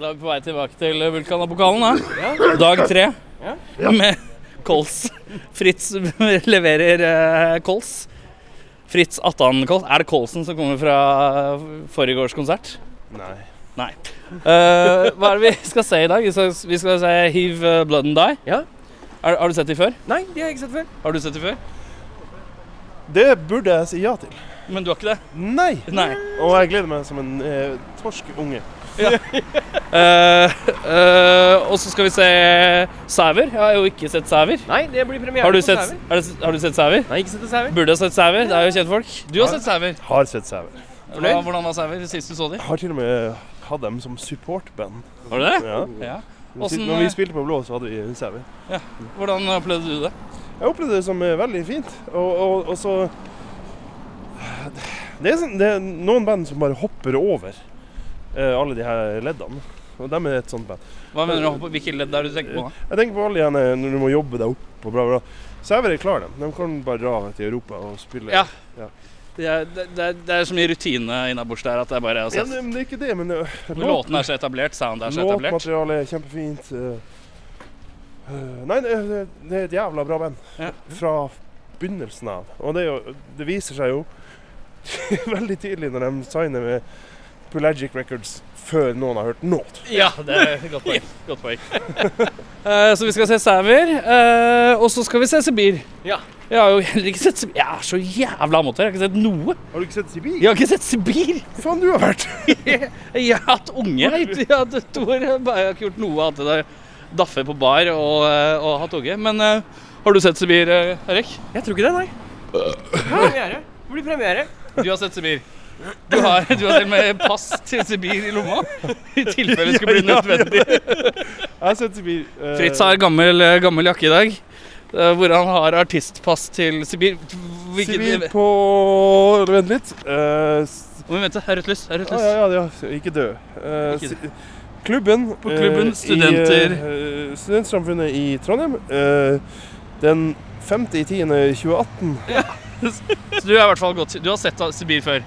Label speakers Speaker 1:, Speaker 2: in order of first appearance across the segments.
Speaker 1: Da er vi på vei tilbake til Vulkanapokalen, da. Dag tre. Med kols. Fritz leverer eh, kols. Fritz Attan Kols. Er det kolsen som kommer fra forrige års konsert?
Speaker 2: Nei.
Speaker 1: Nei. Eh, hva er det vi skal se i dag? Vi skal, vi skal se Hiv eh, Blood and Die.
Speaker 2: Ja.
Speaker 1: Er, har du sett de før?
Speaker 2: Nei, det har jeg ikke sett før.
Speaker 1: Har du sett de før?
Speaker 2: Det burde jeg si ja til.
Speaker 1: Men du har ikke det?
Speaker 2: Nei.
Speaker 1: Nei.
Speaker 2: Og jeg gleder meg som en eh, torsk unge.
Speaker 1: Eh, eh, og så skal vi se Sæver. Jeg har jo ikke sett Sæver.
Speaker 2: Nei, det blir premiere
Speaker 1: Har du sett, er det, har du sett Sæver?
Speaker 2: Nei, ikke sett sauer.
Speaker 1: Burde ha sett Sæver. Det er jo kjentfolk. Du har sett Sæver.
Speaker 2: Har sett sauer.
Speaker 1: Hva, hvordan var Sæver sist du så dem?
Speaker 2: Har til og med eh, hatt dem som supportband.
Speaker 1: Var det det?
Speaker 2: Ja.
Speaker 1: Ja. Åssen,
Speaker 2: Når
Speaker 1: eh,
Speaker 2: vi spilte på blå, så hadde vi sauer.
Speaker 1: Hvordan opplevde du det?
Speaker 2: Jeg opplevde det som eh, veldig fint. Og, og, og så det er, sånn, det er noen band som bare hopper over eh, alle de her leddene. Og dem er et sånt band.
Speaker 1: Hva mener du? på- Hvilke ledd er det du tenker på? da?
Speaker 2: Jeg tenker på alle de her eh, når du må jobbe deg opp og bla, bla. Sauer er klar, dem. De kan bare dra til Europa og spille.
Speaker 1: Ja. Det er, det, det er, det er så mye rutine innabords der at det er bare å
Speaker 2: Ja,
Speaker 1: sette
Speaker 2: men det er ikke det, men eh,
Speaker 1: Men
Speaker 2: låt-
Speaker 1: Låten er så etablert, soundet er så etablert.
Speaker 2: låtmaterialet er kjempefint. eh, eh, Nei, det, det, det er et jævla bra band
Speaker 1: Ja.
Speaker 2: fra begynnelsen av. Og det, er jo, det viser seg jo veldig tidlig når de signer med Pelagic Records før noen har hørt noe.
Speaker 1: Ja, det er et godt poeng. Godt poeng. Eh, så vi skal se Sæver, eh, og så skal vi se Sibir.
Speaker 2: Ja.
Speaker 1: Jeg har jo heller ikke sett Sibir. Jeg er så jævla amatør. Jeg har ikke sett noe.
Speaker 2: Har du ikke sett Sibir?
Speaker 1: Jeg har ikke sett Sibir!
Speaker 2: Faen, du har vært
Speaker 1: Jeg har hatt unge. Jeg, jeg har hatt to år. Jeg bare- jeg har ikke gjort noe annet enn å daffe på bar og, eh, og hatt unge. Men eh, har du sett Sibir, eh, Erik?
Speaker 3: Jeg tror ikke det, nei. Premiere. Det blir premiere.
Speaker 1: Du har sett Sibir. Du har, du har til og med pass til Sibir i lomma i tilfelle det skulle bli
Speaker 2: Ja, ja,
Speaker 1: nødvendig.
Speaker 2: Jeg har sett Sibir. eh,
Speaker 1: Fritz har gammel, eh, gammel jakke i dag, eh, hvor han har artistpass til Sibir. Hvilken,
Speaker 2: Sibir på Vent litt. Eh, s-
Speaker 1: Om vi venter, her er rødt lys. her er rødt
Speaker 2: ah,
Speaker 1: lys.
Speaker 2: ja, ja, ja, ikke dø. Eh,
Speaker 1: Ikke dø.
Speaker 2: si- Klubben,
Speaker 1: På klubben,
Speaker 2: eh, i,
Speaker 1: studenter.
Speaker 2: eh, studentsamfunnet i Trondheim. eh, den 5.10.2018.
Speaker 1: Så du, er i hvert fall godt, du har sett eh, Sibir før.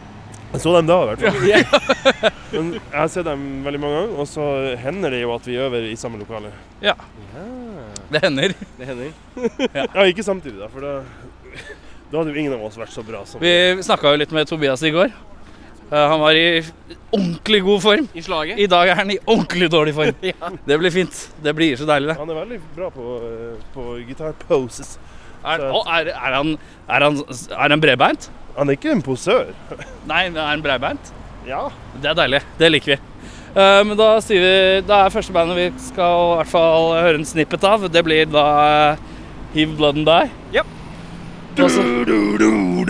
Speaker 2: Jeg så dem da, i hvert fall. Men jeg har sett dem veldig mange ganger, og så hender det jo at vi øver i samme lokale.
Speaker 1: Ja. Det hender.
Speaker 2: Det hender. ja, ikke samtidig, da, for da, da hadde jo ingen av oss vært så bra som
Speaker 1: Vi snakka jo litt med Tobias i går. Eh, Han var i ordentlig god form.
Speaker 3: I slaget.
Speaker 1: I dag er han i ordentlig dårlig form. Det blir fint. Det blir så deilig, det.
Speaker 2: Han er veldig bra på, eh, på guitar poses.
Speaker 1: Er, å, er, er, han, er, han, er han bredbeint?
Speaker 2: Han er ikke en posør.
Speaker 1: Nei, men er han bredbeint?
Speaker 2: Ja.
Speaker 1: Det er deilig. Det liker vi. Eh, men da sier vi Da er første bandet vi skal i hvert fall høre en snippet av. Det blir da eh, Hiv Blood and Die.
Speaker 3: Japp.
Speaker 1: Og så- Er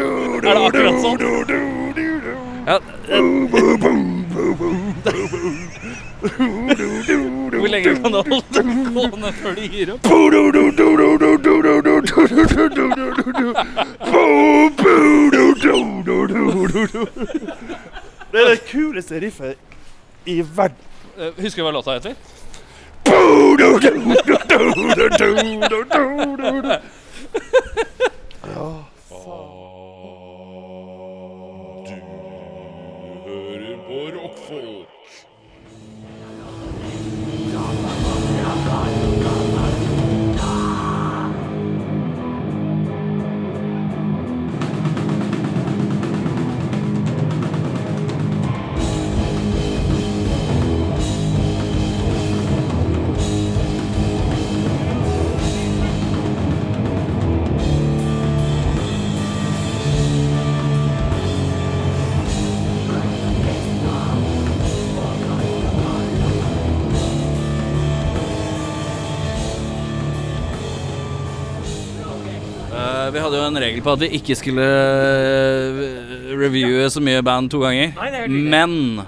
Speaker 1: det akkurat sånn? Ja, Hvor lenge kan det holde gående før de gir opp?
Speaker 2: Det er det kuleste riffet i verden.
Speaker 1: Eh, Husker du hva låta heter? Eh, vi hadde jo en regel på at vi ikke skulle eh, reviewe så mye band to ganger.
Speaker 3: Nei, det er helt riktig.
Speaker 1: Men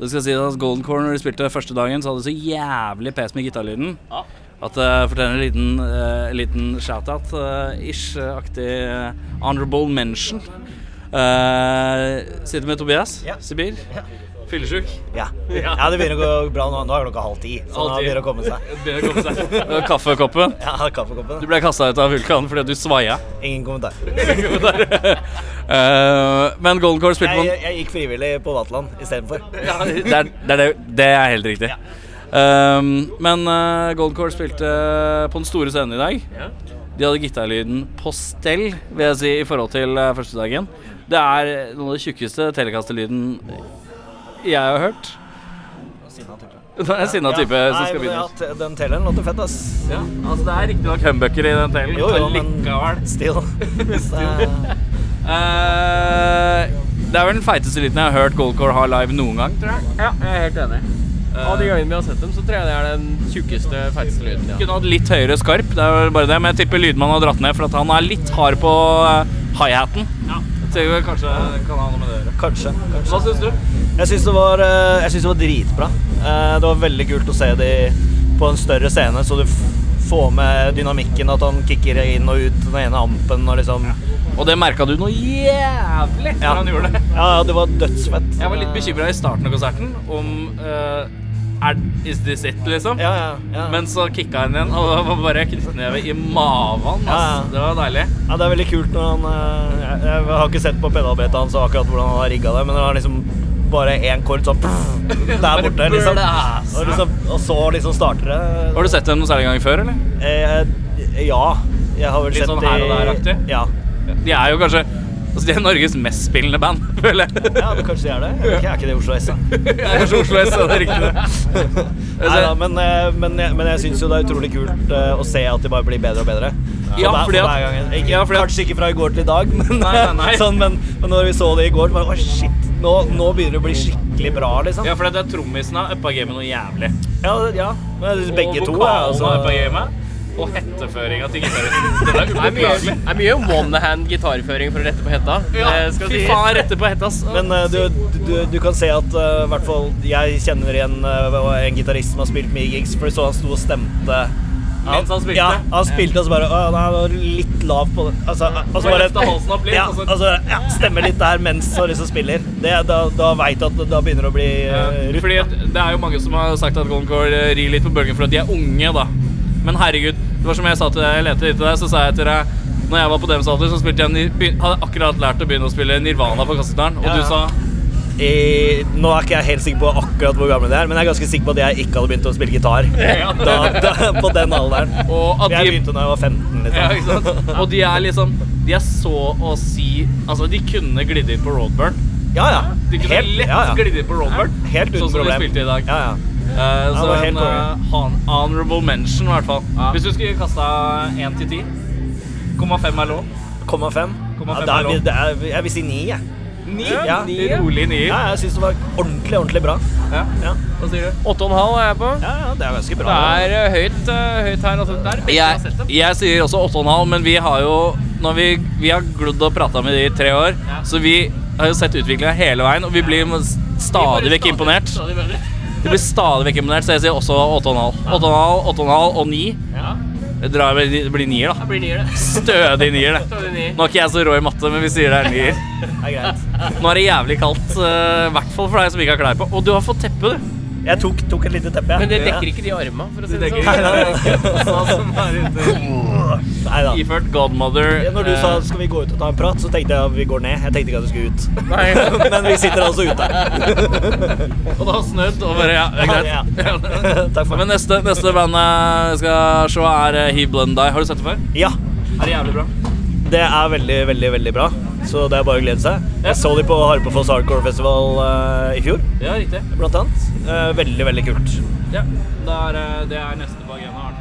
Speaker 1: det skal si at Golden Corn, når de spilte første dagen, så hadde de så jævlig pes med gitarlyden
Speaker 3: Ja.
Speaker 1: at det fortjener en liten, eh, liten shout-out-ish-aktig honorable eh, mention. Eh, Eh, sitter med Tobias
Speaker 4: Ja.
Speaker 1: Sibir. Fyllesyk.
Speaker 4: Ja. ja, det begynner å gå bra nå. Nå er klokka halv ti, så
Speaker 1: Halv
Speaker 4: nå
Speaker 1: ti.
Speaker 4: begynner det å komme seg.
Speaker 1: Begynner å komme seg. Eh, Kaffekoppen.
Speaker 4: Ja,
Speaker 1: Du
Speaker 4: kaffekoppen.
Speaker 1: ble kasta ut av Vulkan fordi du svaia.
Speaker 4: Ingen kommentar.
Speaker 1: Eh, men Golden Core spilte
Speaker 4: Jeg,
Speaker 1: man
Speaker 4: jeg gikk frivillig på Vatland istedenfor.
Speaker 1: ja, det, er, det, er, det, det er helt riktig. Ehm, men eh, Golden Core spilte eh, på den store scenen i dag. De hadde gitarlyden på stell, vil jeg si, i forhold til eh, første dagen. Det er noe av det tjukkeste telekastelyden jeg har hørt. Det er en sinna type som skal begynne.
Speaker 4: Den telleren låter fett, ass.
Speaker 1: Ja, altså Det er riktignok humbucker i den telen.
Speaker 4: Jo, jo, men
Speaker 1: allikevel.
Speaker 4: still. Så,
Speaker 1: Eh, det er vel den feiteste lyden jeg har hørt Goldcore ha live noen gang. tror jeg.
Speaker 3: Ja, jeg er helt enig. Av de gangene vi har sett dem, så tror jeg det er den tjukkeste, feiteste lyden. Ja.
Speaker 1: Kunne hatt litt høyere skarp, det er vel bare det, men jeg tipper lydmannen har dratt ned for at han er litt hard på eh, hi-haten. Ja. Kanskje kan ha noe med det å gjøre.
Speaker 4: kanskje. kanskje.
Speaker 1: Hva syns du?
Speaker 4: Jeg syns det, var, eh, jeg synes det var dritbra. Eh, Det var veldig kult å se de på en større scene, så du f- får med dynamikken, at han kicker inn og ut den ene ampen og liksom
Speaker 1: Og det merka du noe jævlig når
Speaker 4: Ja.
Speaker 1: han gjorde det.
Speaker 4: Ja, ja, det var dødsfett.
Speaker 1: Jeg var litt bekymra i starten av konserten om eh, er, Is this it, liksom?
Speaker 4: Ja, ja, ja.
Speaker 1: Men så kicka han igjen, og det var bare knyttneve i maven.
Speaker 4: Ja, ja.
Speaker 1: ass. Det var deilig.
Speaker 4: ja, det er veldig kult når han eh, Jeg, jeg har ikke sett på pedalbeta hans og akkurat hvordan han har rigga det, men han har liksom bare én kord sånn der borte, liksom.
Speaker 1: blæs.
Speaker 4: Og, liksom, og så liksom starter det.
Speaker 1: Har du sett dem noen særlig gang før, eller?
Speaker 4: Eh, ja. Jeg har vel
Speaker 1: Litt
Speaker 4: sett
Speaker 1: sånn her og
Speaker 4: de-
Speaker 1: der-aktig?
Speaker 4: Ja.
Speaker 1: De er jo kanskje Altså, de er Norges mest spillende band, føler jeg.
Speaker 4: ja, men kanskje de er det. Jeg vet ikke, Er ikke det Oslo S, da?
Speaker 1: Det er kanskje Oslo S, det er riktig det.
Speaker 4: Nei da, men, eh, men, jeg- men jeg syns jo det er utrolig kult eh, å se at de bare blir bedre og bedre.
Speaker 1: Ja,
Speaker 4: Og
Speaker 1: fordi
Speaker 4: for
Speaker 1: at-
Speaker 4: hver gang, ikke,
Speaker 1: ja, fordi at-
Speaker 4: Kanskje ikke fra i går til i dag, men,
Speaker 1: Nei, nei, nei.
Speaker 4: sånn, men, men når vi så det i går, bare, å shit, nå, nå begynner det å bli skikkelig bra, liksom.
Speaker 1: Ja,
Speaker 4: Ja,
Speaker 1: for det er trommisen har uppa gamet noe jævlig.
Speaker 4: det- ja. Men begge
Speaker 1: og
Speaker 4: to er
Speaker 1: vokalen har uppa
Speaker 4: altså
Speaker 1: gamet. Og hetteføringa til gitaristen. Den er
Speaker 3: Det er mye,
Speaker 1: upåklagelig.
Speaker 3: det er mye one hand gitarføring for å rette på hetta.
Speaker 1: Ja,
Speaker 4: Eh,
Speaker 3: det skal
Speaker 1: fy
Speaker 3: sies.
Speaker 1: faen, rette på hetta, ass.
Speaker 4: men eh, du, du, du kan se at eh, i hvert fall jeg kjenner igjen eh, en gitarist som har spilt mye gigs, for jeg så han sto og stemte.
Speaker 1: Mens han spilte?
Speaker 4: Ja, han spilte og så bare Å, han var litt lav på det. Altså, og så
Speaker 1: Og
Speaker 4: bare
Speaker 1: løftet halsen opp litt,
Speaker 4: Ja,
Speaker 1: og så-
Speaker 4: altså, ja, stemmer litt der mens han liksom spiller. Det, da da veit du at det da begynner det å bli eh,
Speaker 1: Eh,
Speaker 4: rutt.
Speaker 1: Fordi at det er jo mange som har sagt at Golden Core eh, rir litt på bølgen for at de er unge, da. Men herregud, det var som jeg sa til deg, jeg lente litt til deg, så sa jeg til deg Når jeg var på deres alder, så spilte jeg Nir- begy- hadde jeg akkurat lært å begynne å spille Nirvana på kassetaren, og
Speaker 4: Ja,
Speaker 1: du
Speaker 4: ja.
Speaker 1: sa
Speaker 4: I, nå er ikke jeg helt sikker på akkurat hvor gamle de er, men jeg er ganske sikker på at jeg ikke hadde begynt å spille gitar
Speaker 1: Ja.
Speaker 4: da, da, på den alderen.
Speaker 1: Og at
Speaker 4: Jeg
Speaker 1: de
Speaker 4: begynte da jeg var 15,
Speaker 1: ja,
Speaker 4: liksom.
Speaker 1: ikke sant? Og de er liksom De er så å si Altså, de kunne glidd inn på Roadburn.
Speaker 4: Ja, ja.
Speaker 1: De kunne
Speaker 4: Helt,
Speaker 1: lett
Speaker 4: ja, ja.
Speaker 1: glidd inn på Roadburn,
Speaker 4: Helt uten
Speaker 1: sånn som
Speaker 4: problem.
Speaker 1: de spilte i dag.
Speaker 4: Ja, ja.
Speaker 1: Eh,
Speaker 4: det
Speaker 1: så
Speaker 4: var
Speaker 1: en
Speaker 4: helt konge.
Speaker 1: eh, hon- honorable mention, i hvert fall. Hvis du skulle kasta 1 til 10 0,5 er lov.
Speaker 4: 0,5? Ja,
Speaker 1: 0,5
Speaker 4: da er vi-
Speaker 1: er lov.
Speaker 4: det er- jeg vil si 9, jeg.
Speaker 1: Ni?
Speaker 4: Ja.
Speaker 1: Rolig nier.
Speaker 4: Ja, jeg syns det var ordentlig, ordentlig bra.
Speaker 1: Ja.
Speaker 4: Ja,
Speaker 1: Hva sier du?
Speaker 3: Åtte og en halv er jeg på.
Speaker 4: ja, ja det er ganske bra.
Speaker 3: Det er eh, høyt, eh, høyt her. Altså. Det er det beste jeg har
Speaker 1: Jeg,
Speaker 3: sett dem.
Speaker 1: jeg sier også 8,5, men vi har jo når vi, vi har glodd og prata med de i tre år,
Speaker 3: Ja.
Speaker 1: så vi har jo sett utviklinga hele veien, og vi blir s- stadig vekk imponert.
Speaker 3: Stadig bedre.
Speaker 1: Vi blir stadig vekk imponert, så jeg sier også 8,5. 8,5, 8,5 og 9.
Speaker 3: Ja,
Speaker 1: Det drar- det blir nier, da.
Speaker 3: det blir nier, det.
Speaker 1: Stødig nier, det.
Speaker 3: Stadig nier.
Speaker 1: Nå er ikke jeg så rå i matte, men vi sier det er nier.
Speaker 4: Det er greit.
Speaker 1: Nå er det jævlig kaldt, eh, i hvert fall for deg som ikke har klær på. Og du har fått teppe, du.
Speaker 4: Jeg tok, tok et lite teppe, jeg.
Speaker 3: Men det dekker ikke de armene, for å si det
Speaker 1: dekker
Speaker 4: Nei,
Speaker 3: sånn.
Speaker 4: nei, nei da.
Speaker 1: Iført godmother.
Speaker 4: Når du
Speaker 1: eh,
Speaker 4: sa skal vi gå ut og ta en prat, så tenkte jeg at vi går ned. Jeg tenkte ikke at vi skulle ut.
Speaker 3: Nei.
Speaker 4: Men vi sitter altså ute.
Speaker 1: Og det har snødd, og bare ja, det er greit.
Speaker 4: Ja, Takk for
Speaker 1: Men neste, neste band jeg skal se, er eh, He Blendeye. Har du sett det før?
Speaker 4: Ja,
Speaker 1: Er det jævlig bra?
Speaker 4: det er veldig, veldig veldig bra. Så det er bare å glede seg. Jeg så de på Harpefoss Hardcore Festival eh, i fjor,
Speaker 1: Ja, riktig.
Speaker 4: blant annet. Eh, veldig, veldig kult.
Speaker 1: Ja, det er, eh, det er neste på agendaen.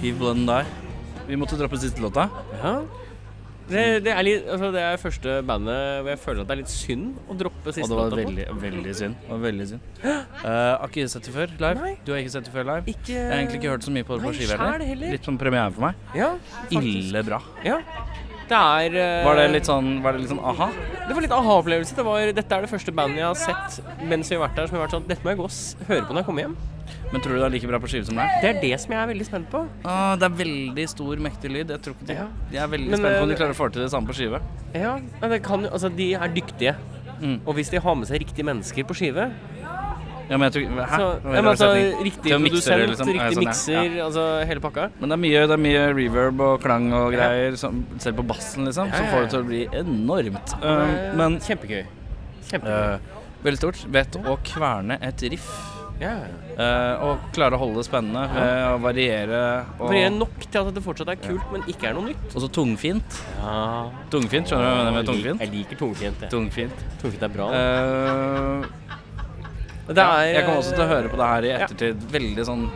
Speaker 1: Hiv blood and die. Vi måtte dra på siste låta.
Speaker 3: Ja. Det, det, er litt, altså det er første bandet hvor jeg føler at det er litt synd å droppe
Speaker 1: Og
Speaker 3: siste
Speaker 1: det var
Speaker 3: låta på.
Speaker 1: veldig, veldig synd. Det var veldig synd. Eh, har ikke sett det før live.
Speaker 3: Nei.
Speaker 1: Du har ikke sett det før live.
Speaker 3: Ikke
Speaker 1: Jeg har egentlig ikke hørt så mye på det på
Speaker 3: Nei,
Speaker 1: skive
Speaker 3: sjæl
Speaker 1: heller.
Speaker 3: heller.
Speaker 1: Litt som premiere for meg.
Speaker 3: Ja, faktisk.
Speaker 1: Ille bra.
Speaker 3: Ja. Det er eh,
Speaker 1: Var det litt sånn, var det litt sånn aha?
Speaker 3: Det var litt aha-opplevelse. Det var, dette er det første bandet jeg har sett mens vi har vært der som jeg har vært sånn Dette må jeg gå og s- høre på når jeg kommer hjem.
Speaker 1: Men tror du det er like bra på skive som live?
Speaker 3: Det er det som jeg er veldig spent på.
Speaker 1: Ah, det er veldig stor, mektig lyd. Jeg tror ikke de
Speaker 3: Ja.
Speaker 1: Jeg er veldig
Speaker 3: Men,
Speaker 1: spent på om de
Speaker 3: eh,
Speaker 1: klarer å få til det samme på skive.
Speaker 3: Ja, men det kan jo Altså, de er dyktige.
Speaker 1: Mm.
Speaker 3: Og hvis de har med seg riktige mennesker på skive
Speaker 1: Ja, men jeg tror Hæ? Det var en
Speaker 3: så, ja, men
Speaker 1: rar
Speaker 3: altså,
Speaker 1: setning.
Speaker 3: Riktig
Speaker 1: Til å mikse det,
Speaker 3: produsent,
Speaker 1: liksom. Ja,
Speaker 3: riktig
Speaker 1: sånn, ja.
Speaker 3: mikser, altså hele pakka.
Speaker 1: Men det er mye, det er mye reverb og klang og greier, som, selv på bassen, liksom,
Speaker 3: Ja,
Speaker 1: som
Speaker 3: ja,
Speaker 1: får
Speaker 3: ja.
Speaker 1: det til å bli enormt. Um,
Speaker 3: Eh,
Speaker 1: men
Speaker 3: Kjempegøy. Kjempegøy.
Speaker 1: eh, veldig stort. Vet å kverne et riff.
Speaker 3: ja.
Speaker 1: eh, og klare å holde det spennende ved å variere. Og,
Speaker 3: For det er nok til at det fortsatt er kult, men ikke er noe nytt.
Speaker 1: og så tungfint. Tungfint, skjønner du hva jeg mener med tungfint?
Speaker 3: Jeg liker tungfint. jeg.
Speaker 1: Tungfint.
Speaker 3: Tungfint er bra. da.
Speaker 1: Eh,
Speaker 3: Det er,
Speaker 1: jeg kommer også til å høre på det her i
Speaker 3: ja.
Speaker 1: ettertid. Veldig sånn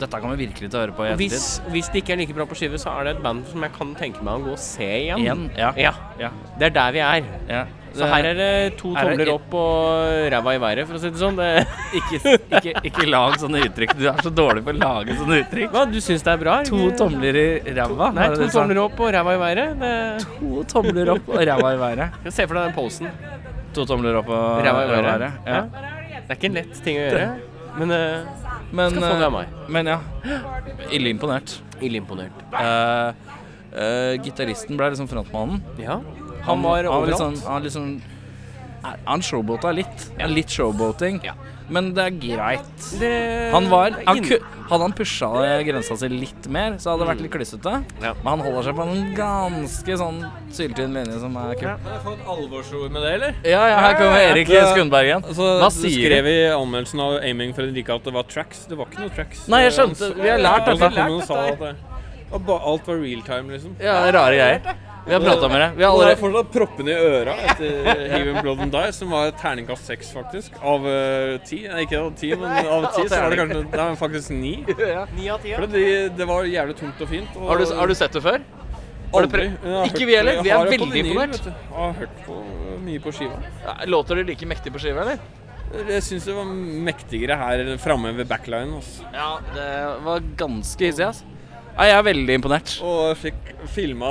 Speaker 1: Dette kommer vi virkelig til å høre på i ettertid.
Speaker 3: Hvis, hvis det ikke er like bra på skive, så er det et band som jeg kan tenke meg å gå og se igjen.
Speaker 1: Igjen. Ja.
Speaker 3: Ja,
Speaker 1: ja.
Speaker 3: Det er der vi er.
Speaker 1: ja.
Speaker 3: Så her er det to
Speaker 1: er det-
Speaker 3: tomler opp og ræva i været, for å si det sånn. Det,
Speaker 1: ikke, ikke, ikke lag sånne uttrykk. Du er så dårlig på å lage sånne uttrykk.
Speaker 3: hva, du syns det er bra?
Speaker 1: To
Speaker 3: eller?
Speaker 1: tomler i ræva.
Speaker 3: Nei,
Speaker 1: var det
Speaker 3: to
Speaker 1: det du sa?
Speaker 3: tomler opp og ræva i været. Det,
Speaker 1: To tomler opp og ræva i været.
Speaker 3: se for deg den posen.
Speaker 1: To tomler opp og
Speaker 3: Ræva i været.
Speaker 1: Ja.
Speaker 3: Det er ikke en lett ting å gjøre, men eh,
Speaker 1: Men,
Speaker 3: Skal få det av
Speaker 1: eh,
Speaker 3: meg.
Speaker 1: men ja. Ille imponert.
Speaker 3: ille imponert.
Speaker 1: Eh, eh, gitaristen ble liksom frontmannen.
Speaker 3: Ja. Han var
Speaker 1: han litt
Speaker 3: overalt.
Speaker 1: sånn- Han litt sånn er- Han showboata litt. Ja. Litt showboating.
Speaker 3: Ja.
Speaker 1: Men det er greit.
Speaker 3: Det-
Speaker 1: Han var han,
Speaker 3: inn-
Speaker 1: ku- Hadde han pusha grensa si litt mer, så hadde det vært litt klissete.
Speaker 3: Ja.
Speaker 1: Men han holder seg på en ganske sånn syltynn linje som er kul.
Speaker 5: Har jeg fått alvorsord med det, eller?
Speaker 1: Ja, ja, her kommer Erik Skundbergen.
Speaker 5: Altså,
Speaker 1: Hva
Speaker 5: du
Speaker 1: sier
Speaker 5: skrev i anmeldelsen av Aiming Fredrika at det var tracks. Det var ikke noe tracks.
Speaker 1: Nei, jeg
Speaker 5: Altså,
Speaker 1: skjønte. Vi har lært
Speaker 5: Og så
Speaker 1: dette.
Speaker 5: kom hun og sa at det- at ba- alt var real time, liksom.
Speaker 1: Ja, rare greier. Vi har prata med deg. Vi har
Speaker 5: Og det er
Speaker 1: allerede
Speaker 5: fortsatt proppene i øra etter Heave and Blood and Die, som var terningkast seks, faktisk. Av eh, ti. Nei, ikke av ti, men av ti så var det kanskje Nei, faktisk ni.
Speaker 3: Ni av ti, ja.
Speaker 5: For det, det var jævlig tungt og fint. Og
Speaker 1: har du, har du sett det før? har du
Speaker 5: aldri-
Speaker 1: prøvd?
Speaker 5: Jeg har
Speaker 1: Ikke
Speaker 5: hørt-
Speaker 1: vi heller.
Speaker 5: jeg
Speaker 1: Vi er
Speaker 5: har det på
Speaker 1: veldig
Speaker 5: vinyl,
Speaker 1: imponert.
Speaker 5: vet du. Jeg har hørt på mye på skiva.
Speaker 1: Låter det like mektig på skive, eller?
Speaker 5: Jeg syns det var mektigere her framme ved backlinen. Altså.
Speaker 1: Ja, det var ganske hissig, ass. Nei, jeg er veldig imponert.
Speaker 5: Og jeg fikk filma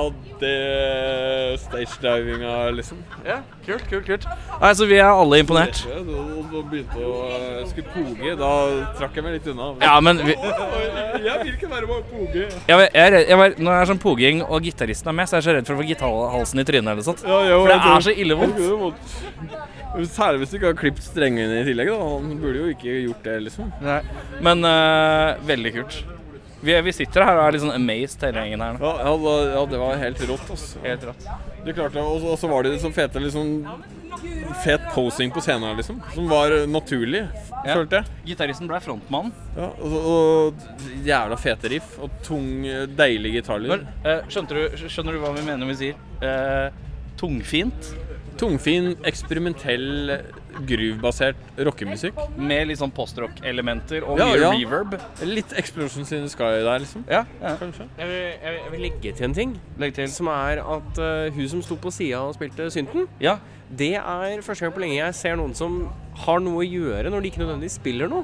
Speaker 5: det stagedivinga, liksom.
Speaker 1: Ja, kult, kult, kult. Nei, så vi er alle imponert.
Speaker 5: Da, da, da begynte jeg å eh, skulle poge. Da trakk jeg meg litt unna.
Speaker 1: Ja, men vi,
Speaker 5: Oi, Jeg vil ikke være med å poge.
Speaker 1: jeg, var- jeg, er redd- jeg var, når det er sånn poging og gitaristen er med, så er jeg så redd for å få gitarhalsen i trynet eller sånt.
Speaker 5: Ja, jo,
Speaker 1: For det
Speaker 5: jeg
Speaker 1: er
Speaker 5: tror-
Speaker 1: så ille
Speaker 5: jeg
Speaker 1: vondt.
Speaker 5: tror det måtte- Særlig hvis du ikke har klippet strengene i tillegg. da Han burde jo ikke gjort det, liksom.
Speaker 1: Nei. Men øh, veldig kult. Vi, vi sitter her og er litt sånn amazed hele gjengen her nå.
Speaker 5: Ja, ja, da, ja det var helt rått, altså.
Speaker 1: Helt rått.
Speaker 5: Det klarte jeg, og så- og så var det så fete liksom Fet posing på scenen her, liksom. Som var eh, naturlig, f-
Speaker 1: Ja.
Speaker 5: følte jeg.
Speaker 1: Gitaristen ble frontmann.
Speaker 5: Ja, og, og jævla fete riff og tung, eh, deilig gitarlyd.
Speaker 1: Men, øh, skjønte du, skjønner du hva vi mener når vi sier øh, tungfint?
Speaker 5: Tungfin, eksperimentell, groovebasert rockemusikk.
Speaker 1: Med litt sånn postrock-elementer og
Speaker 5: Ja,
Speaker 1: mye
Speaker 5: ja.
Speaker 1: reverb?
Speaker 5: Litt Explosions in the Sky der, liksom.
Speaker 1: Ja. ja.
Speaker 5: Kanskje.
Speaker 3: Jeg vil, jeg, vil, jeg vil legge til en ting,
Speaker 1: Legg til.
Speaker 3: som er at eh, hun som sto på sida og spilte synten,
Speaker 1: Ja.
Speaker 3: Det er første gang på lenge jeg ser noen som har noe å gjøre når de ikke nødvendigvis spiller noe.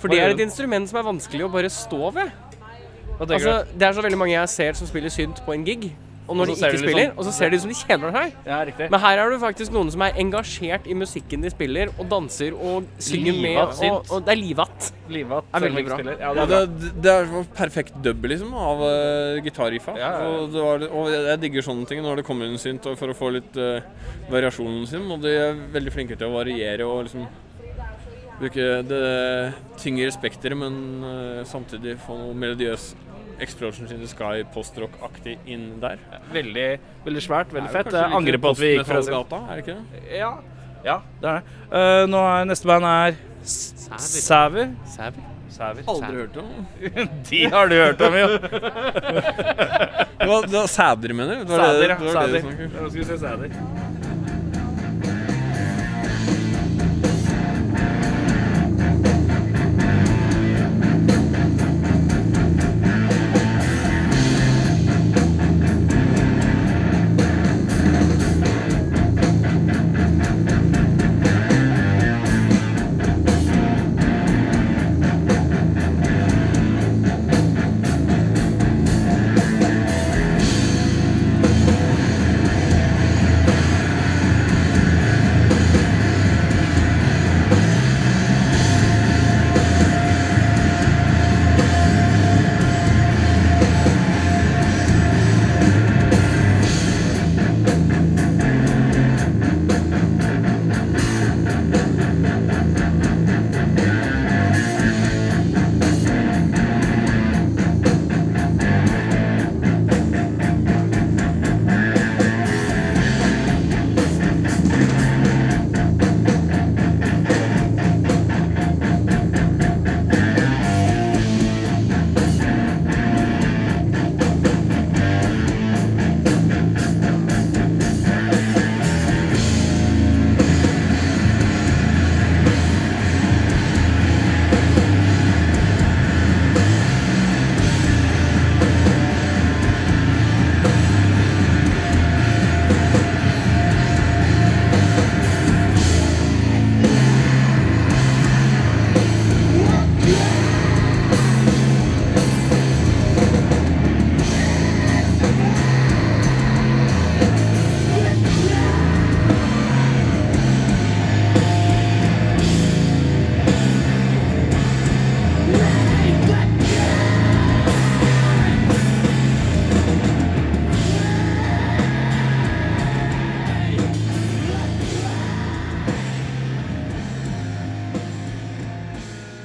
Speaker 3: For
Speaker 1: Hva
Speaker 3: det er
Speaker 1: gjør
Speaker 3: et instrument som er vanskelig å bare stå ved.
Speaker 1: Hva tenker
Speaker 3: Altså, det er så veldig mange jeg ser som spiller synt på en gig, og når
Speaker 1: Og så
Speaker 3: de
Speaker 1: ser
Speaker 3: ikke
Speaker 1: de litt
Speaker 3: spiller,
Speaker 1: sånn-
Speaker 3: og så ser liksom- de ut som de kjeder seg.
Speaker 1: du? Ja, riktig.
Speaker 3: Men her er det faktisk noen som er engasjert i musikken de spiller, og danser og synger med.
Speaker 1: Livat synt.
Speaker 3: Og, og det er livatt.
Speaker 1: Livet
Speaker 3: er veldig bra.
Speaker 1: Ja, det
Speaker 5: Ja,
Speaker 1: er bra.
Speaker 5: det, det er jo perfekt dub liksom, av uh, gitarriffa.
Speaker 1: Ja, ja, ja.
Speaker 5: Og, det var, og jeg jeg digger sånne ting når det kommer en synt og for å få litt eh, variasjonen sin. Og de er veldig flinke til å variere og liksom bruke det tyngre spekteret, men eh, samtidig få noe melodiøs Explosions in the Sky postrock-aktig inn der.
Speaker 1: Veldig, veldig svært, veldig
Speaker 5: Det er jo
Speaker 1: fett.
Speaker 5: kanskje
Speaker 1: Jeg
Speaker 5: litt
Speaker 1: angrer på at vi gikk fra
Speaker 5: postmetallgata, Er det ikke det?
Speaker 1: Ja. ja, det er det. Eh, nå er neste band er S- Sæver.
Speaker 3: Sæver.
Speaker 1: Sæver.
Speaker 5: Aldri hørt om.
Speaker 1: De har du hørt om, jo.
Speaker 5: Det var, det var sæder, mener du? Det var det-
Speaker 1: Sæder, ja.
Speaker 5: det var det
Speaker 1: Sæder.
Speaker 5: du snakket om.
Speaker 1: Nå skal vi se Sæder.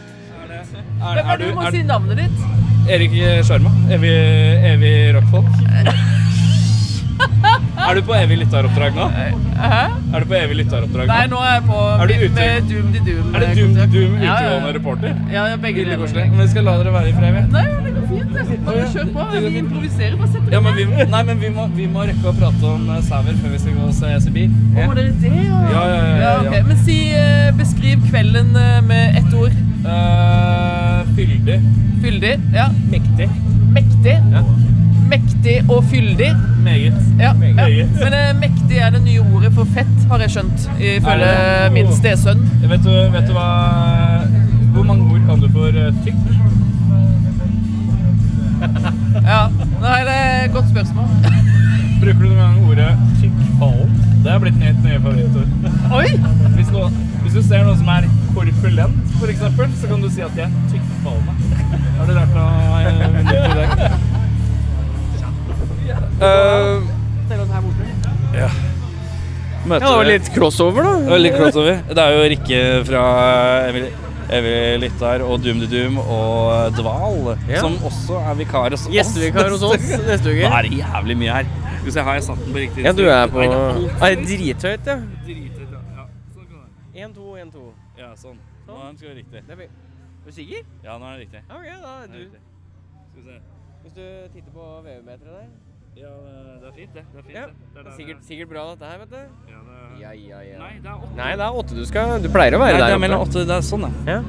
Speaker 1: Er
Speaker 6: Du
Speaker 1: du,
Speaker 6: må
Speaker 1: er
Speaker 6: si navnet ditt.
Speaker 1: du Erik Sjarma? Evig, evig rockfolk? Er du på evig lytteroppdrag nå?
Speaker 6: Eh, Hæ?
Speaker 1: Er du på evig lytteroppdrag
Speaker 6: Nei,
Speaker 1: nå?
Speaker 6: nå er jeg på
Speaker 1: Er du
Speaker 6: mitt
Speaker 1: ute?
Speaker 6: med Doom de Doom.
Speaker 1: Er det Doom de Doom
Speaker 6: Ja, ja.
Speaker 1: utgående reporter?
Speaker 6: Ja, ja, begge
Speaker 1: Veldig
Speaker 6: deler.
Speaker 1: koselig. Men vi skal la dere være i fred, vi.
Speaker 6: Nei, men det går fint. det. Bare kjør på. Vi improviserer. Bare setter
Speaker 1: Ja,
Speaker 6: dere
Speaker 1: men vi, nei, men vi må, vi må rekke å prate om eh, sauer før vi skal gå og se Sibir.
Speaker 6: Å, var dere det, ja?
Speaker 1: Ja, ja, ja, ja,
Speaker 6: ok.
Speaker 1: ja.
Speaker 6: Men si eh, Beskriv kvelden eh, med ett ord.
Speaker 1: Uh, fyldig.
Speaker 6: Fyldig. Ja.
Speaker 1: Mektig.
Speaker 6: Mektig. Mektig og fyldig.
Speaker 1: Meget.
Speaker 6: Ja. ja.
Speaker 1: Meget.
Speaker 6: Men eh, mektig er det nye ordet for fett, har jeg skjønt, ifølge
Speaker 1: det?
Speaker 6: min stesønn.
Speaker 1: Vet du, vet du hva Hvor mange ord kan du for eh, tykk?
Speaker 6: Ja. Nei, det er et godt spørsmål.
Speaker 1: Bruker du noen gang ordet tykkfallen? Det er blitt mitt nye favorittord.
Speaker 6: Oi!
Speaker 1: Hvis, noe, hvis du ser noe som er korpulent, for eksempel, så kan du si at de er tykkfallende. Har du lært noe eh, nytt i dag? Møter
Speaker 3: Ja, det var litt crossover, da.
Speaker 1: Det var litt crossover. Det er jo Rikke fra eh, Emily, Emily Littar og Doom the Doom og eh, Dval,
Speaker 3: Ja.
Speaker 1: som også er vikar hos oss.
Speaker 3: Gjestevikar hos oss neste
Speaker 1: Det
Speaker 3: uke.
Speaker 1: er det jævlig mye her. Skal vi se, har jeg satt den på riktig
Speaker 3: Ja, du er på
Speaker 1: Nei,
Speaker 3: Er det drithøyt, ja?
Speaker 1: det er alt dritet, ja. Ja, sånn kan det være.
Speaker 3: Én, to, én, to.
Speaker 1: Ja, sånn. Nå er den skal være riktig.
Speaker 3: Er du sikker?
Speaker 1: Ja, nå er den riktig.
Speaker 3: Ok, da er
Speaker 1: Den er
Speaker 3: du
Speaker 1: riktig. Skal vi se.
Speaker 3: Hvis du titter på VU-meteret der
Speaker 1: Ja, det er fint, det. Det er fint,
Speaker 3: Ja,
Speaker 1: det.
Speaker 3: det
Speaker 1: der
Speaker 3: er
Speaker 1: det
Speaker 3: sikkert, sikkert bra dette her, vet du.
Speaker 1: er. Ja, det
Speaker 3: Ja, ja,
Speaker 1: er...
Speaker 3: ja.
Speaker 1: Nei, det er åtte.
Speaker 3: Nei, det er åtte du skal Du pleier å være
Speaker 1: Nei, det
Speaker 3: der
Speaker 1: er mellom
Speaker 3: oppe.
Speaker 1: åtte. Det er sånn, ja.
Speaker 3: Ja.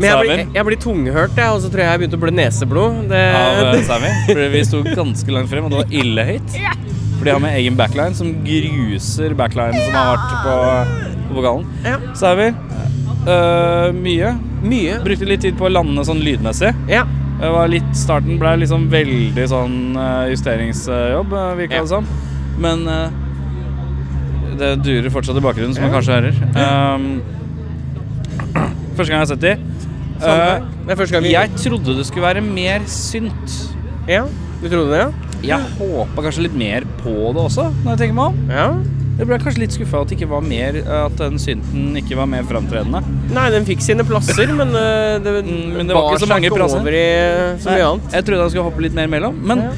Speaker 3: Men jeg blir, jeg blir tunghørt, jeg, og så tror jeg jeg begynte å blø neseblod. Det,
Speaker 1: Av eh,
Speaker 3: det,
Speaker 1: Sammy. Fordi vi sto ganske langt frem, og det var ille høyt. For de har med egen backline som gruser backlinen som har vært på, på vokalen.
Speaker 3: Ja.
Speaker 1: Sauer. eh, mye.
Speaker 3: mye.
Speaker 1: Brukte litt tid på å lande sånn lydmessig.
Speaker 3: Ja.
Speaker 1: Det var litt, starten ble liksom veldig sånn eh, justeringsjobb, uh, virka
Speaker 3: Ja.
Speaker 1: det som. Men eh, det durer fortsatt i bakgrunnen, som man kanskje hører. Um, første gang jeg har sett de. Eh,
Speaker 3: Det er første gang vi
Speaker 1: jeg trodde det skulle være mer synt.
Speaker 3: Ja. Du trodde det, ja?
Speaker 1: Jeg håpa kanskje litt mer på det også, når jeg tenker meg om.
Speaker 3: Ja.
Speaker 1: Jeg ble kanskje litt skuffa at, det ikke var mer- at den synten ikke var mer framtredende.
Speaker 3: Nei, den fikk sine plasser, men eh, det,
Speaker 1: Mm, men det var ikke så
Speaker 3: seg
Speaker 1: mange plasser.
Speaker 3: over i så mye annet.
Speaker 1: Jeg trodde han skulle hoppe litt mer imellom, men
Speaker 3: Ja.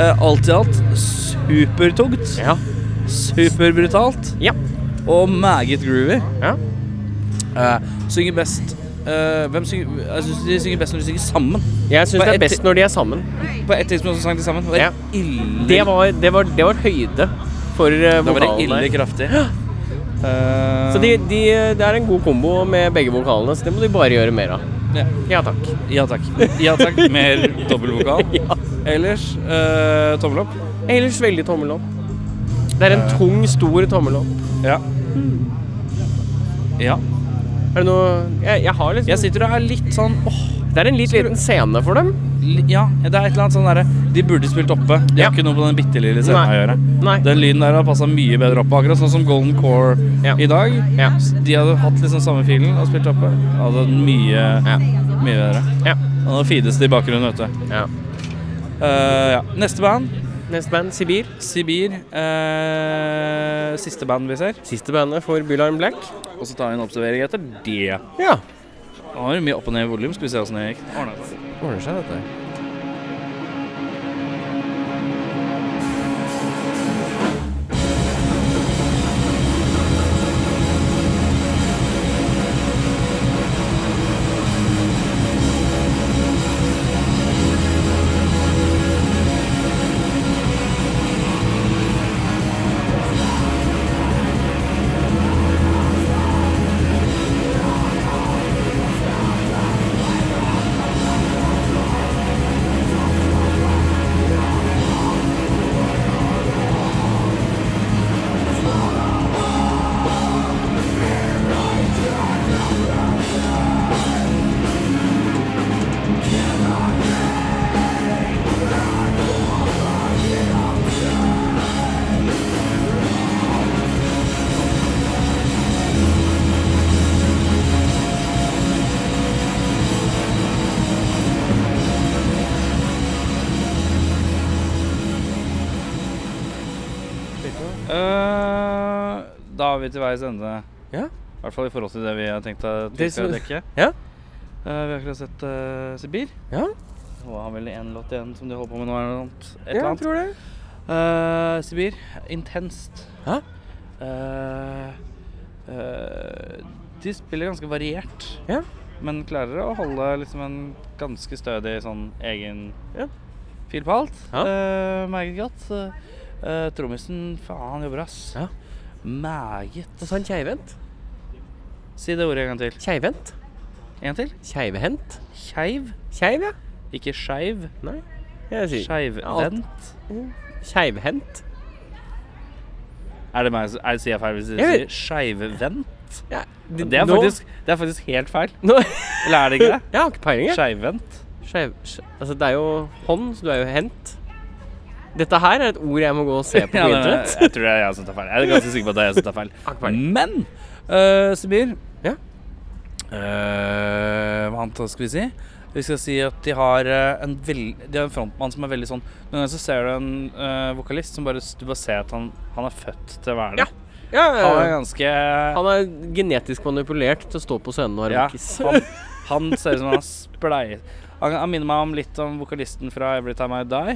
Speaker 1: eh, alt i alt supertungt.
Speaker 3: Ja.
Speaker 1: Superbrutalt.
Speaker 3: Ja.
Speaker 1: Og meget groovy.
Speaker 3: Ja.
Speaker 1: Eh, synger best eh, Hvem synger Jeg syns de synger best når de synger sammen.
Speaker 3: Jeg syns
Speaker 1: På
Speaker 3: det
Speaker 1: et-
Speaker 3: er best når de er sammen.
Speaker 1: På et tidspunkt så sang de sammen. og Det,
Speaker 3: Ja.
Speaker 1: er ille,
Speaker 3: Det var, det var, det var høyde for eh,
Speaker 1: da var det
Speaker 3: vokalen
Speaker 1: ille
Speaker 3: der.
Speaker 1: kraftig. Eh,
Speaker 3: Så de, de, det er en god kombo med begge vokalene, så det må de bare gjøre mer av.
Speaker 1: ja.
Speaker 3: Ja takk.
Speaker 1: ja takk. Ja takk. Mer dobbeltvokal. Ellers eh, tommel opp.
Speaker 3: Ellers veldig tommel opp. Det er en
Speaker 1: Eh.
Speaker 3: tung, stor tommel opp.
Speaker 1: Ja. ja.
Speaker 3: Er det noe Jeg, jeg har liksom
Speaker 1: Jeg sitter og er litt sånn åh,
Speaker 3: Det er en litt liten scene for dem.
Speaker 1: li- Ja, det er et eller annet sånn derre De burde spilt oppe. De
Speaker 3: Ja.
Speaker 1: har ikke noe på den bitte lille scenen å
Speaker 3: Nei.
Speaker 1: gjøre.
Speaker 3: Nei.
Speaker 1: Den lyden der har passa mye bedre oppe, akkurat sånn som Golden Core
Speaker 3: Ja.
Speaker 1: i dag.
Speaker 3: Ja.
Speaker 1: De hadde hatt liksom samme filen og spilt oppe. Hadde hatt mye,
Speaker 3: Ja.
Speaker 1: mye bedre.
Speaker 3: Ja.
Speaker 1: Og nå fides det i bakgrunnen, vet du.
Speaker 3: ja.
Speaker 1: Eh, ja. Neste band,
Speaker 3: Neste band, Sibir.
Speaker 1: Sibir. Eh, siste band vi ser.
Speaker 3: Siste bandet for Bylarm Black.
Speaker 1: Og så tar vi en observering etter det.
Speaker 3: Ja.
Speaker 1: Da var det mye opp og ned i volum. Skal vi se åssen det gikk. Ordnet seg.
Speaker 3: Ordner seg, dette her.
Speaker 1: Eh, da er vi til veis ende.
Speaker 3: Ja.
Speaker 1: I hvert fall i forhold til det vi har tenkt å
Speaker 3: Det
Speaker 1: til å
Speaker 3: som-
Speaker 1: dekke.
Speaker 3: Ja.
Speaker 1: Eh, vi har akkurat sett eh, Sibir.
Speaker 3: Ja.
Speaker 1: Og har vel en låt igjen som de holder på med nå, eller noe annet. Et eller
Speaker 3: Ja, jeg
Speaker 1: annet.
Speaker 3: tror det.
Speaker 1: Eh, Sibir. Intenst.
Speaker 3: Hæ?
Speaker 1: Eh, eh, de spiller ganske variert.
Speaker 3: Ja.
Speaker 1: Men klarer å holde liksom en ganske stødig sånn egen
Speaker 3: Ja.
Speaker 1: fil på alt.
Speaker 3: Ja.
Speaker 1: Eh, meget godt. Eh, Trommisen, faen, han jobber, ass.
Speaker 3: Ja.
Speaker 1: Meget.
Speaker 3: Og så en keivhendt.
Speaker 1: Si det ordet en gang til.
Speaker 3: Keivhendt?
Speaker 1: En til.
Speaker 3: Keivhendt?
Speaker 1: Keiv.
Speaker 3: Keiv, ja.
Speaker 1: Ikke skeiv.
Speaker 3: Jeg sier
Speaker 1: Skeivvendt.
Speaker 3: keivhendt.
Speaker 1: Er det meg som er- sier jeg feil hvis jeg
Speaker 3: Jeg
Speaker 1: sier
Speaker 3: vet-
Speaker 1: skeivvendt?
Speaker 3: Ja,
Speaker 1: Det er, faktisk, det er faktisk helt feil.
Speaker 3: Nå,
Speaker 1: Eller er det
Speaker 3: jeg
Speaker 1: ikke det?
Speaker 3: har ikke peiling, jeg.
Speaker 1: Skeivvendt.
Speaker 3: Skeiv... sk- Altså, det er jo hånd, så du er jo hent. Dette her er et ord jeg må gå og se på på
Speaker 1: Ja, det-
Speaker 3: internett.
Speaker 1: jeg tror det er jeg som tar feil. Jeg er ganske sikker på at det er jeg som tar feil.
Speaker 3: Har ikke peiling.
Speaker 1: Men øh, Sibir
Speaker 3: Ja?
Speaker 1: Øh, Hva annet skal vi si? Vi skal si at de har øh, en, veld, de har en frontmann som er veldig sånn Noen ganger så ser du en øh, vokalist som bare Du bare ser at han, han er født til å være det.
Speaker 3: Ja,
Speaker 1: Han
Speaker 3: ja,
Speaker 1: er
Speaker 3: ja.
Speaker 1: ganske
Speaker 3: Han er genetisk manipulert til å stå på scenen og være
Speaker 1: Ja,
Speaker 3: rockis.
Speaker 1: han, han ser ut som han spleier han, han minner meg om litt om vokalisten fra Every Time I Die.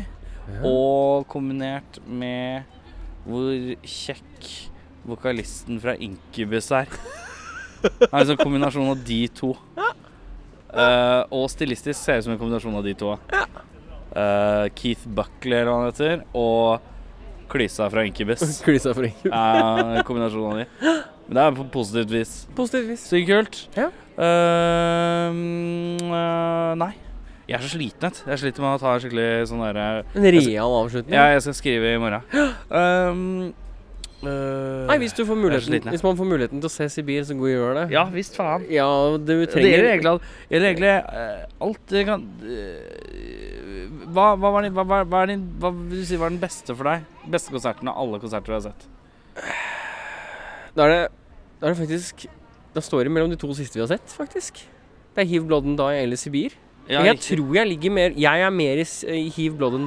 Speaker 1: Og kombinert med hvor kjekk vokalisten fra Incubus er. Det er en sånn kombinasjon av de to. Eh, og stilistisk ser ut som en kombinasjon av de to. Eh, Keith Buckley, eller hva han heter, og klysa fra Incubus.
Speaker 3: Klisa for ikke.
Speaker 1: Uh, kombinasjonen av de. Men det er på positivt vis.
Speaker 3: Positivt vis.
Speaker 1: Sykt kult.
Speaker 3: Ja.
Speaker 1: Ehm, eh, nei. Jeg er så sliten. vet du. Jeg sliter med å ta en skikkelig sånn derre
Speaker 3: En real avslutning.
Speaker 1: Ja, jeg skal skrive i morgen. Ehm, eh,
Speaker 3: Nei, hvis, du
Speaker 1: Jeg er så sliten,
Speaker 3: får muligheten,
Speaker 1: jeg.
Speaker 3: hvis man får muligheten til å se Sibir, så god gjør det.
Speaker 1: Ja visst, faen.
Speaker 3: ja du
Speaker 1: Det
Speaker 3: trenger
Speaker 1: gjelder egentlig, alt- gjelder egentlig eh, alt det kan eh, hva, hva, var din, hva, hva, hva er din, hva vil du si var den beste for deg? Beste konserten av alle konserter du har sett?
Speaker 3: Da er det, da er det faktisk Da står det mellom de to siste vi har sett, faktisk. Det er Hiv Blood and Die eller Sibir. Men jeg
Speaker 1: riktig.
Speaker 3: tror jeg ligger mer Jeg er mer i, s- i Hiv Blood and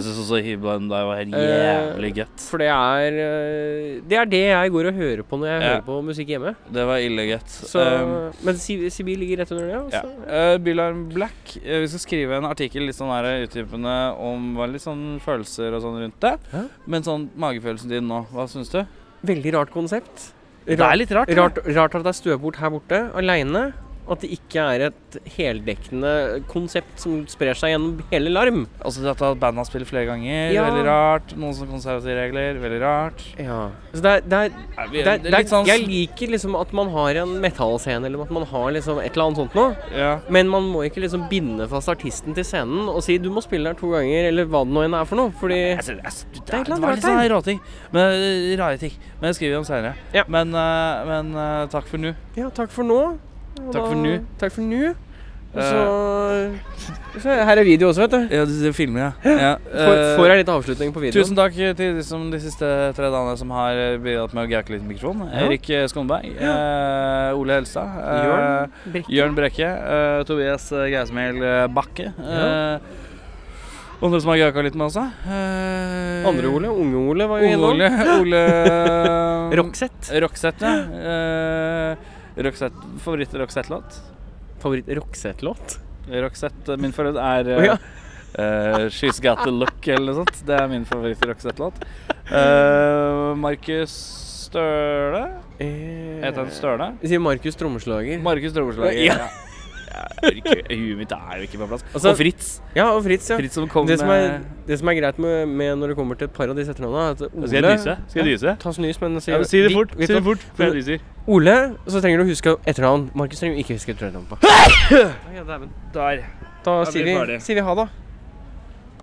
Speaker 1: jeg syns også Hibland der var helt jævlig gøtt.
Speaker 3: For det er eh, Det er det jeg går og hører på når jeg
Speaker 1: Ja.
Speaker 3: hører på musikk hjemme.
Speaker 1: Det var ille gøtt.
Speaker 3: Så,
Speaker 1: Ehm,
Speaker 3: men Si- Sibir ligger rett under det.
Speaker 1: Ja.
Speaker 3: Altså.
Speaker 1: Eh, Bylarm Black, eh, vi skal skrive en artikkel litt sånn her utdypende om hva litt sånn følelser og sånn rundt det.
Speaker 3: Ja.
Speaker 1: Men sånn magefølelsen din nå, hva syns du?
Speaker 3: Veldig rart konsept.
Speaker 1: Det er litt rart.
Speaker 3: Rart, rart at det er støvbord her borte, aleine. At det ikke er et heldekkende konsept som sprer seg gjennom hele larm.
Speaker 1: Altså at bandet har spilt flere ganger,
Speaker 3: Ja.
Speaker 1: veldig rart. Noen som konservative regler, veldig rart.
Speaker 3: Ja. Så det er, det er,
Speaker 1: Nei, vi-
Speaker 3: det er, det er
Speaker 1: litt sånn
Speaker 3: Jeg liker liksom at man har en metallscene, eller at man har liksom et eller annet sånt noe.
Speaker 1: ja.
Speaker 3: Men man må ikke liksom binde fast artisten til scenen og si 'du må spille her to ganger', eller hva det nå enn er for noe. Fordi
Speaker 1: Jeg synes- jeg synes- altså, det, er-
Speaker 3: et eller
Speaker 1: det
Speaker 3: annet
Speaker 1: var
Speaker 3: rart
Speaker 1: litt sånn rare ting. Men, eh, rare ting. Men det skriver vi om senere.
Speaker 3: Ja.
Speaker 1: Men, eh, men eh, takk for nå.
Speaker 3: Ja, takk for nå. Og
Speaker 1: Takk for Eh.
Speaker 3: da-
Speaker 1: nu.
Speaker 3: Takk for nu. Og så, så Her er video også, vet du.
Speaker 1: Ja, du, du filmer, ja. ja.
Speaker 3: Får,
Speaker 1: eh,
Speaker 3: får jeg litt avslutning på videoen.
Speaker 1: Tusen takk til de, som de siste tre dagene som har eh, bidratt med å gauke litt mikrofon. Erik eh, Skånberg, eh, Ole Helstad, eh,
Speaker 3: Jørn Brekke.
Speaker 1: Jørn Brekke, eh, Tobias eh, Gausmel eh, Bakke. eh, og andre som har gauka litt med oss, da. Eh,
Speaker 3: Andre Ole, Unge Ole var jo
Speaker 1: Unge
Speaker 3: innom.
Speaker 1: Ole. Ole eh,
Speaker 3: Roxette.
Speaker 1: Roxette, ja. Eh, Roxette, Favoritt-Roxette-låt?
Speaker 3: Favoritt-Roxette-låt?
Speaker 1: Roxette, min favoritt er
Speaker 3: Å, ja.
Speaker 1: eh, eh, She's Got The Look eller noe sånt. Det er min favoritt-Roxette-låt. Eh, Markus Støle Heter han Støle?
Speaker 3: Vi sier Markus Trommeslager.
Speaker 1: Markus Drømmeslager.
Speaker 3: Ja.
Speaker 1: Huet mitt er jo ikke på plass.
Speaker 3: Altså-
Speaker 1: og Fritz.
Speaker 3: ja, og Fritz, ja.
Speaker 1: Fritz som kom
Speaker 3: Det som, er,
Speaker 1: med
Speaker 3: det som er greit med, med når det kommer til et par av disse etternavnene, er at Ole
Speaker 1: Skal jeg dyse? Skal jeg dyse?
Speaker 3: Ta snus, men si,
Speaker 1: Ja, men si det fort.
Speaker 3: Vi- vi
Speaker 1: Si det
Speaker 3: tar-
Speaker 1: fort før jeg dyser.
Speaker 3: Ole, så trenger du å huske etternavn. Markus trenger ikke huske etternavn på.
Speaker 1: Der.
Speaker 3: Da
Speaker 1: Da blir
Speaker 3: sier
Speaker 1: vi
Speaker 3: vi,
Speaker 1: ferdig.
Speaker 3: sier vi ha, da.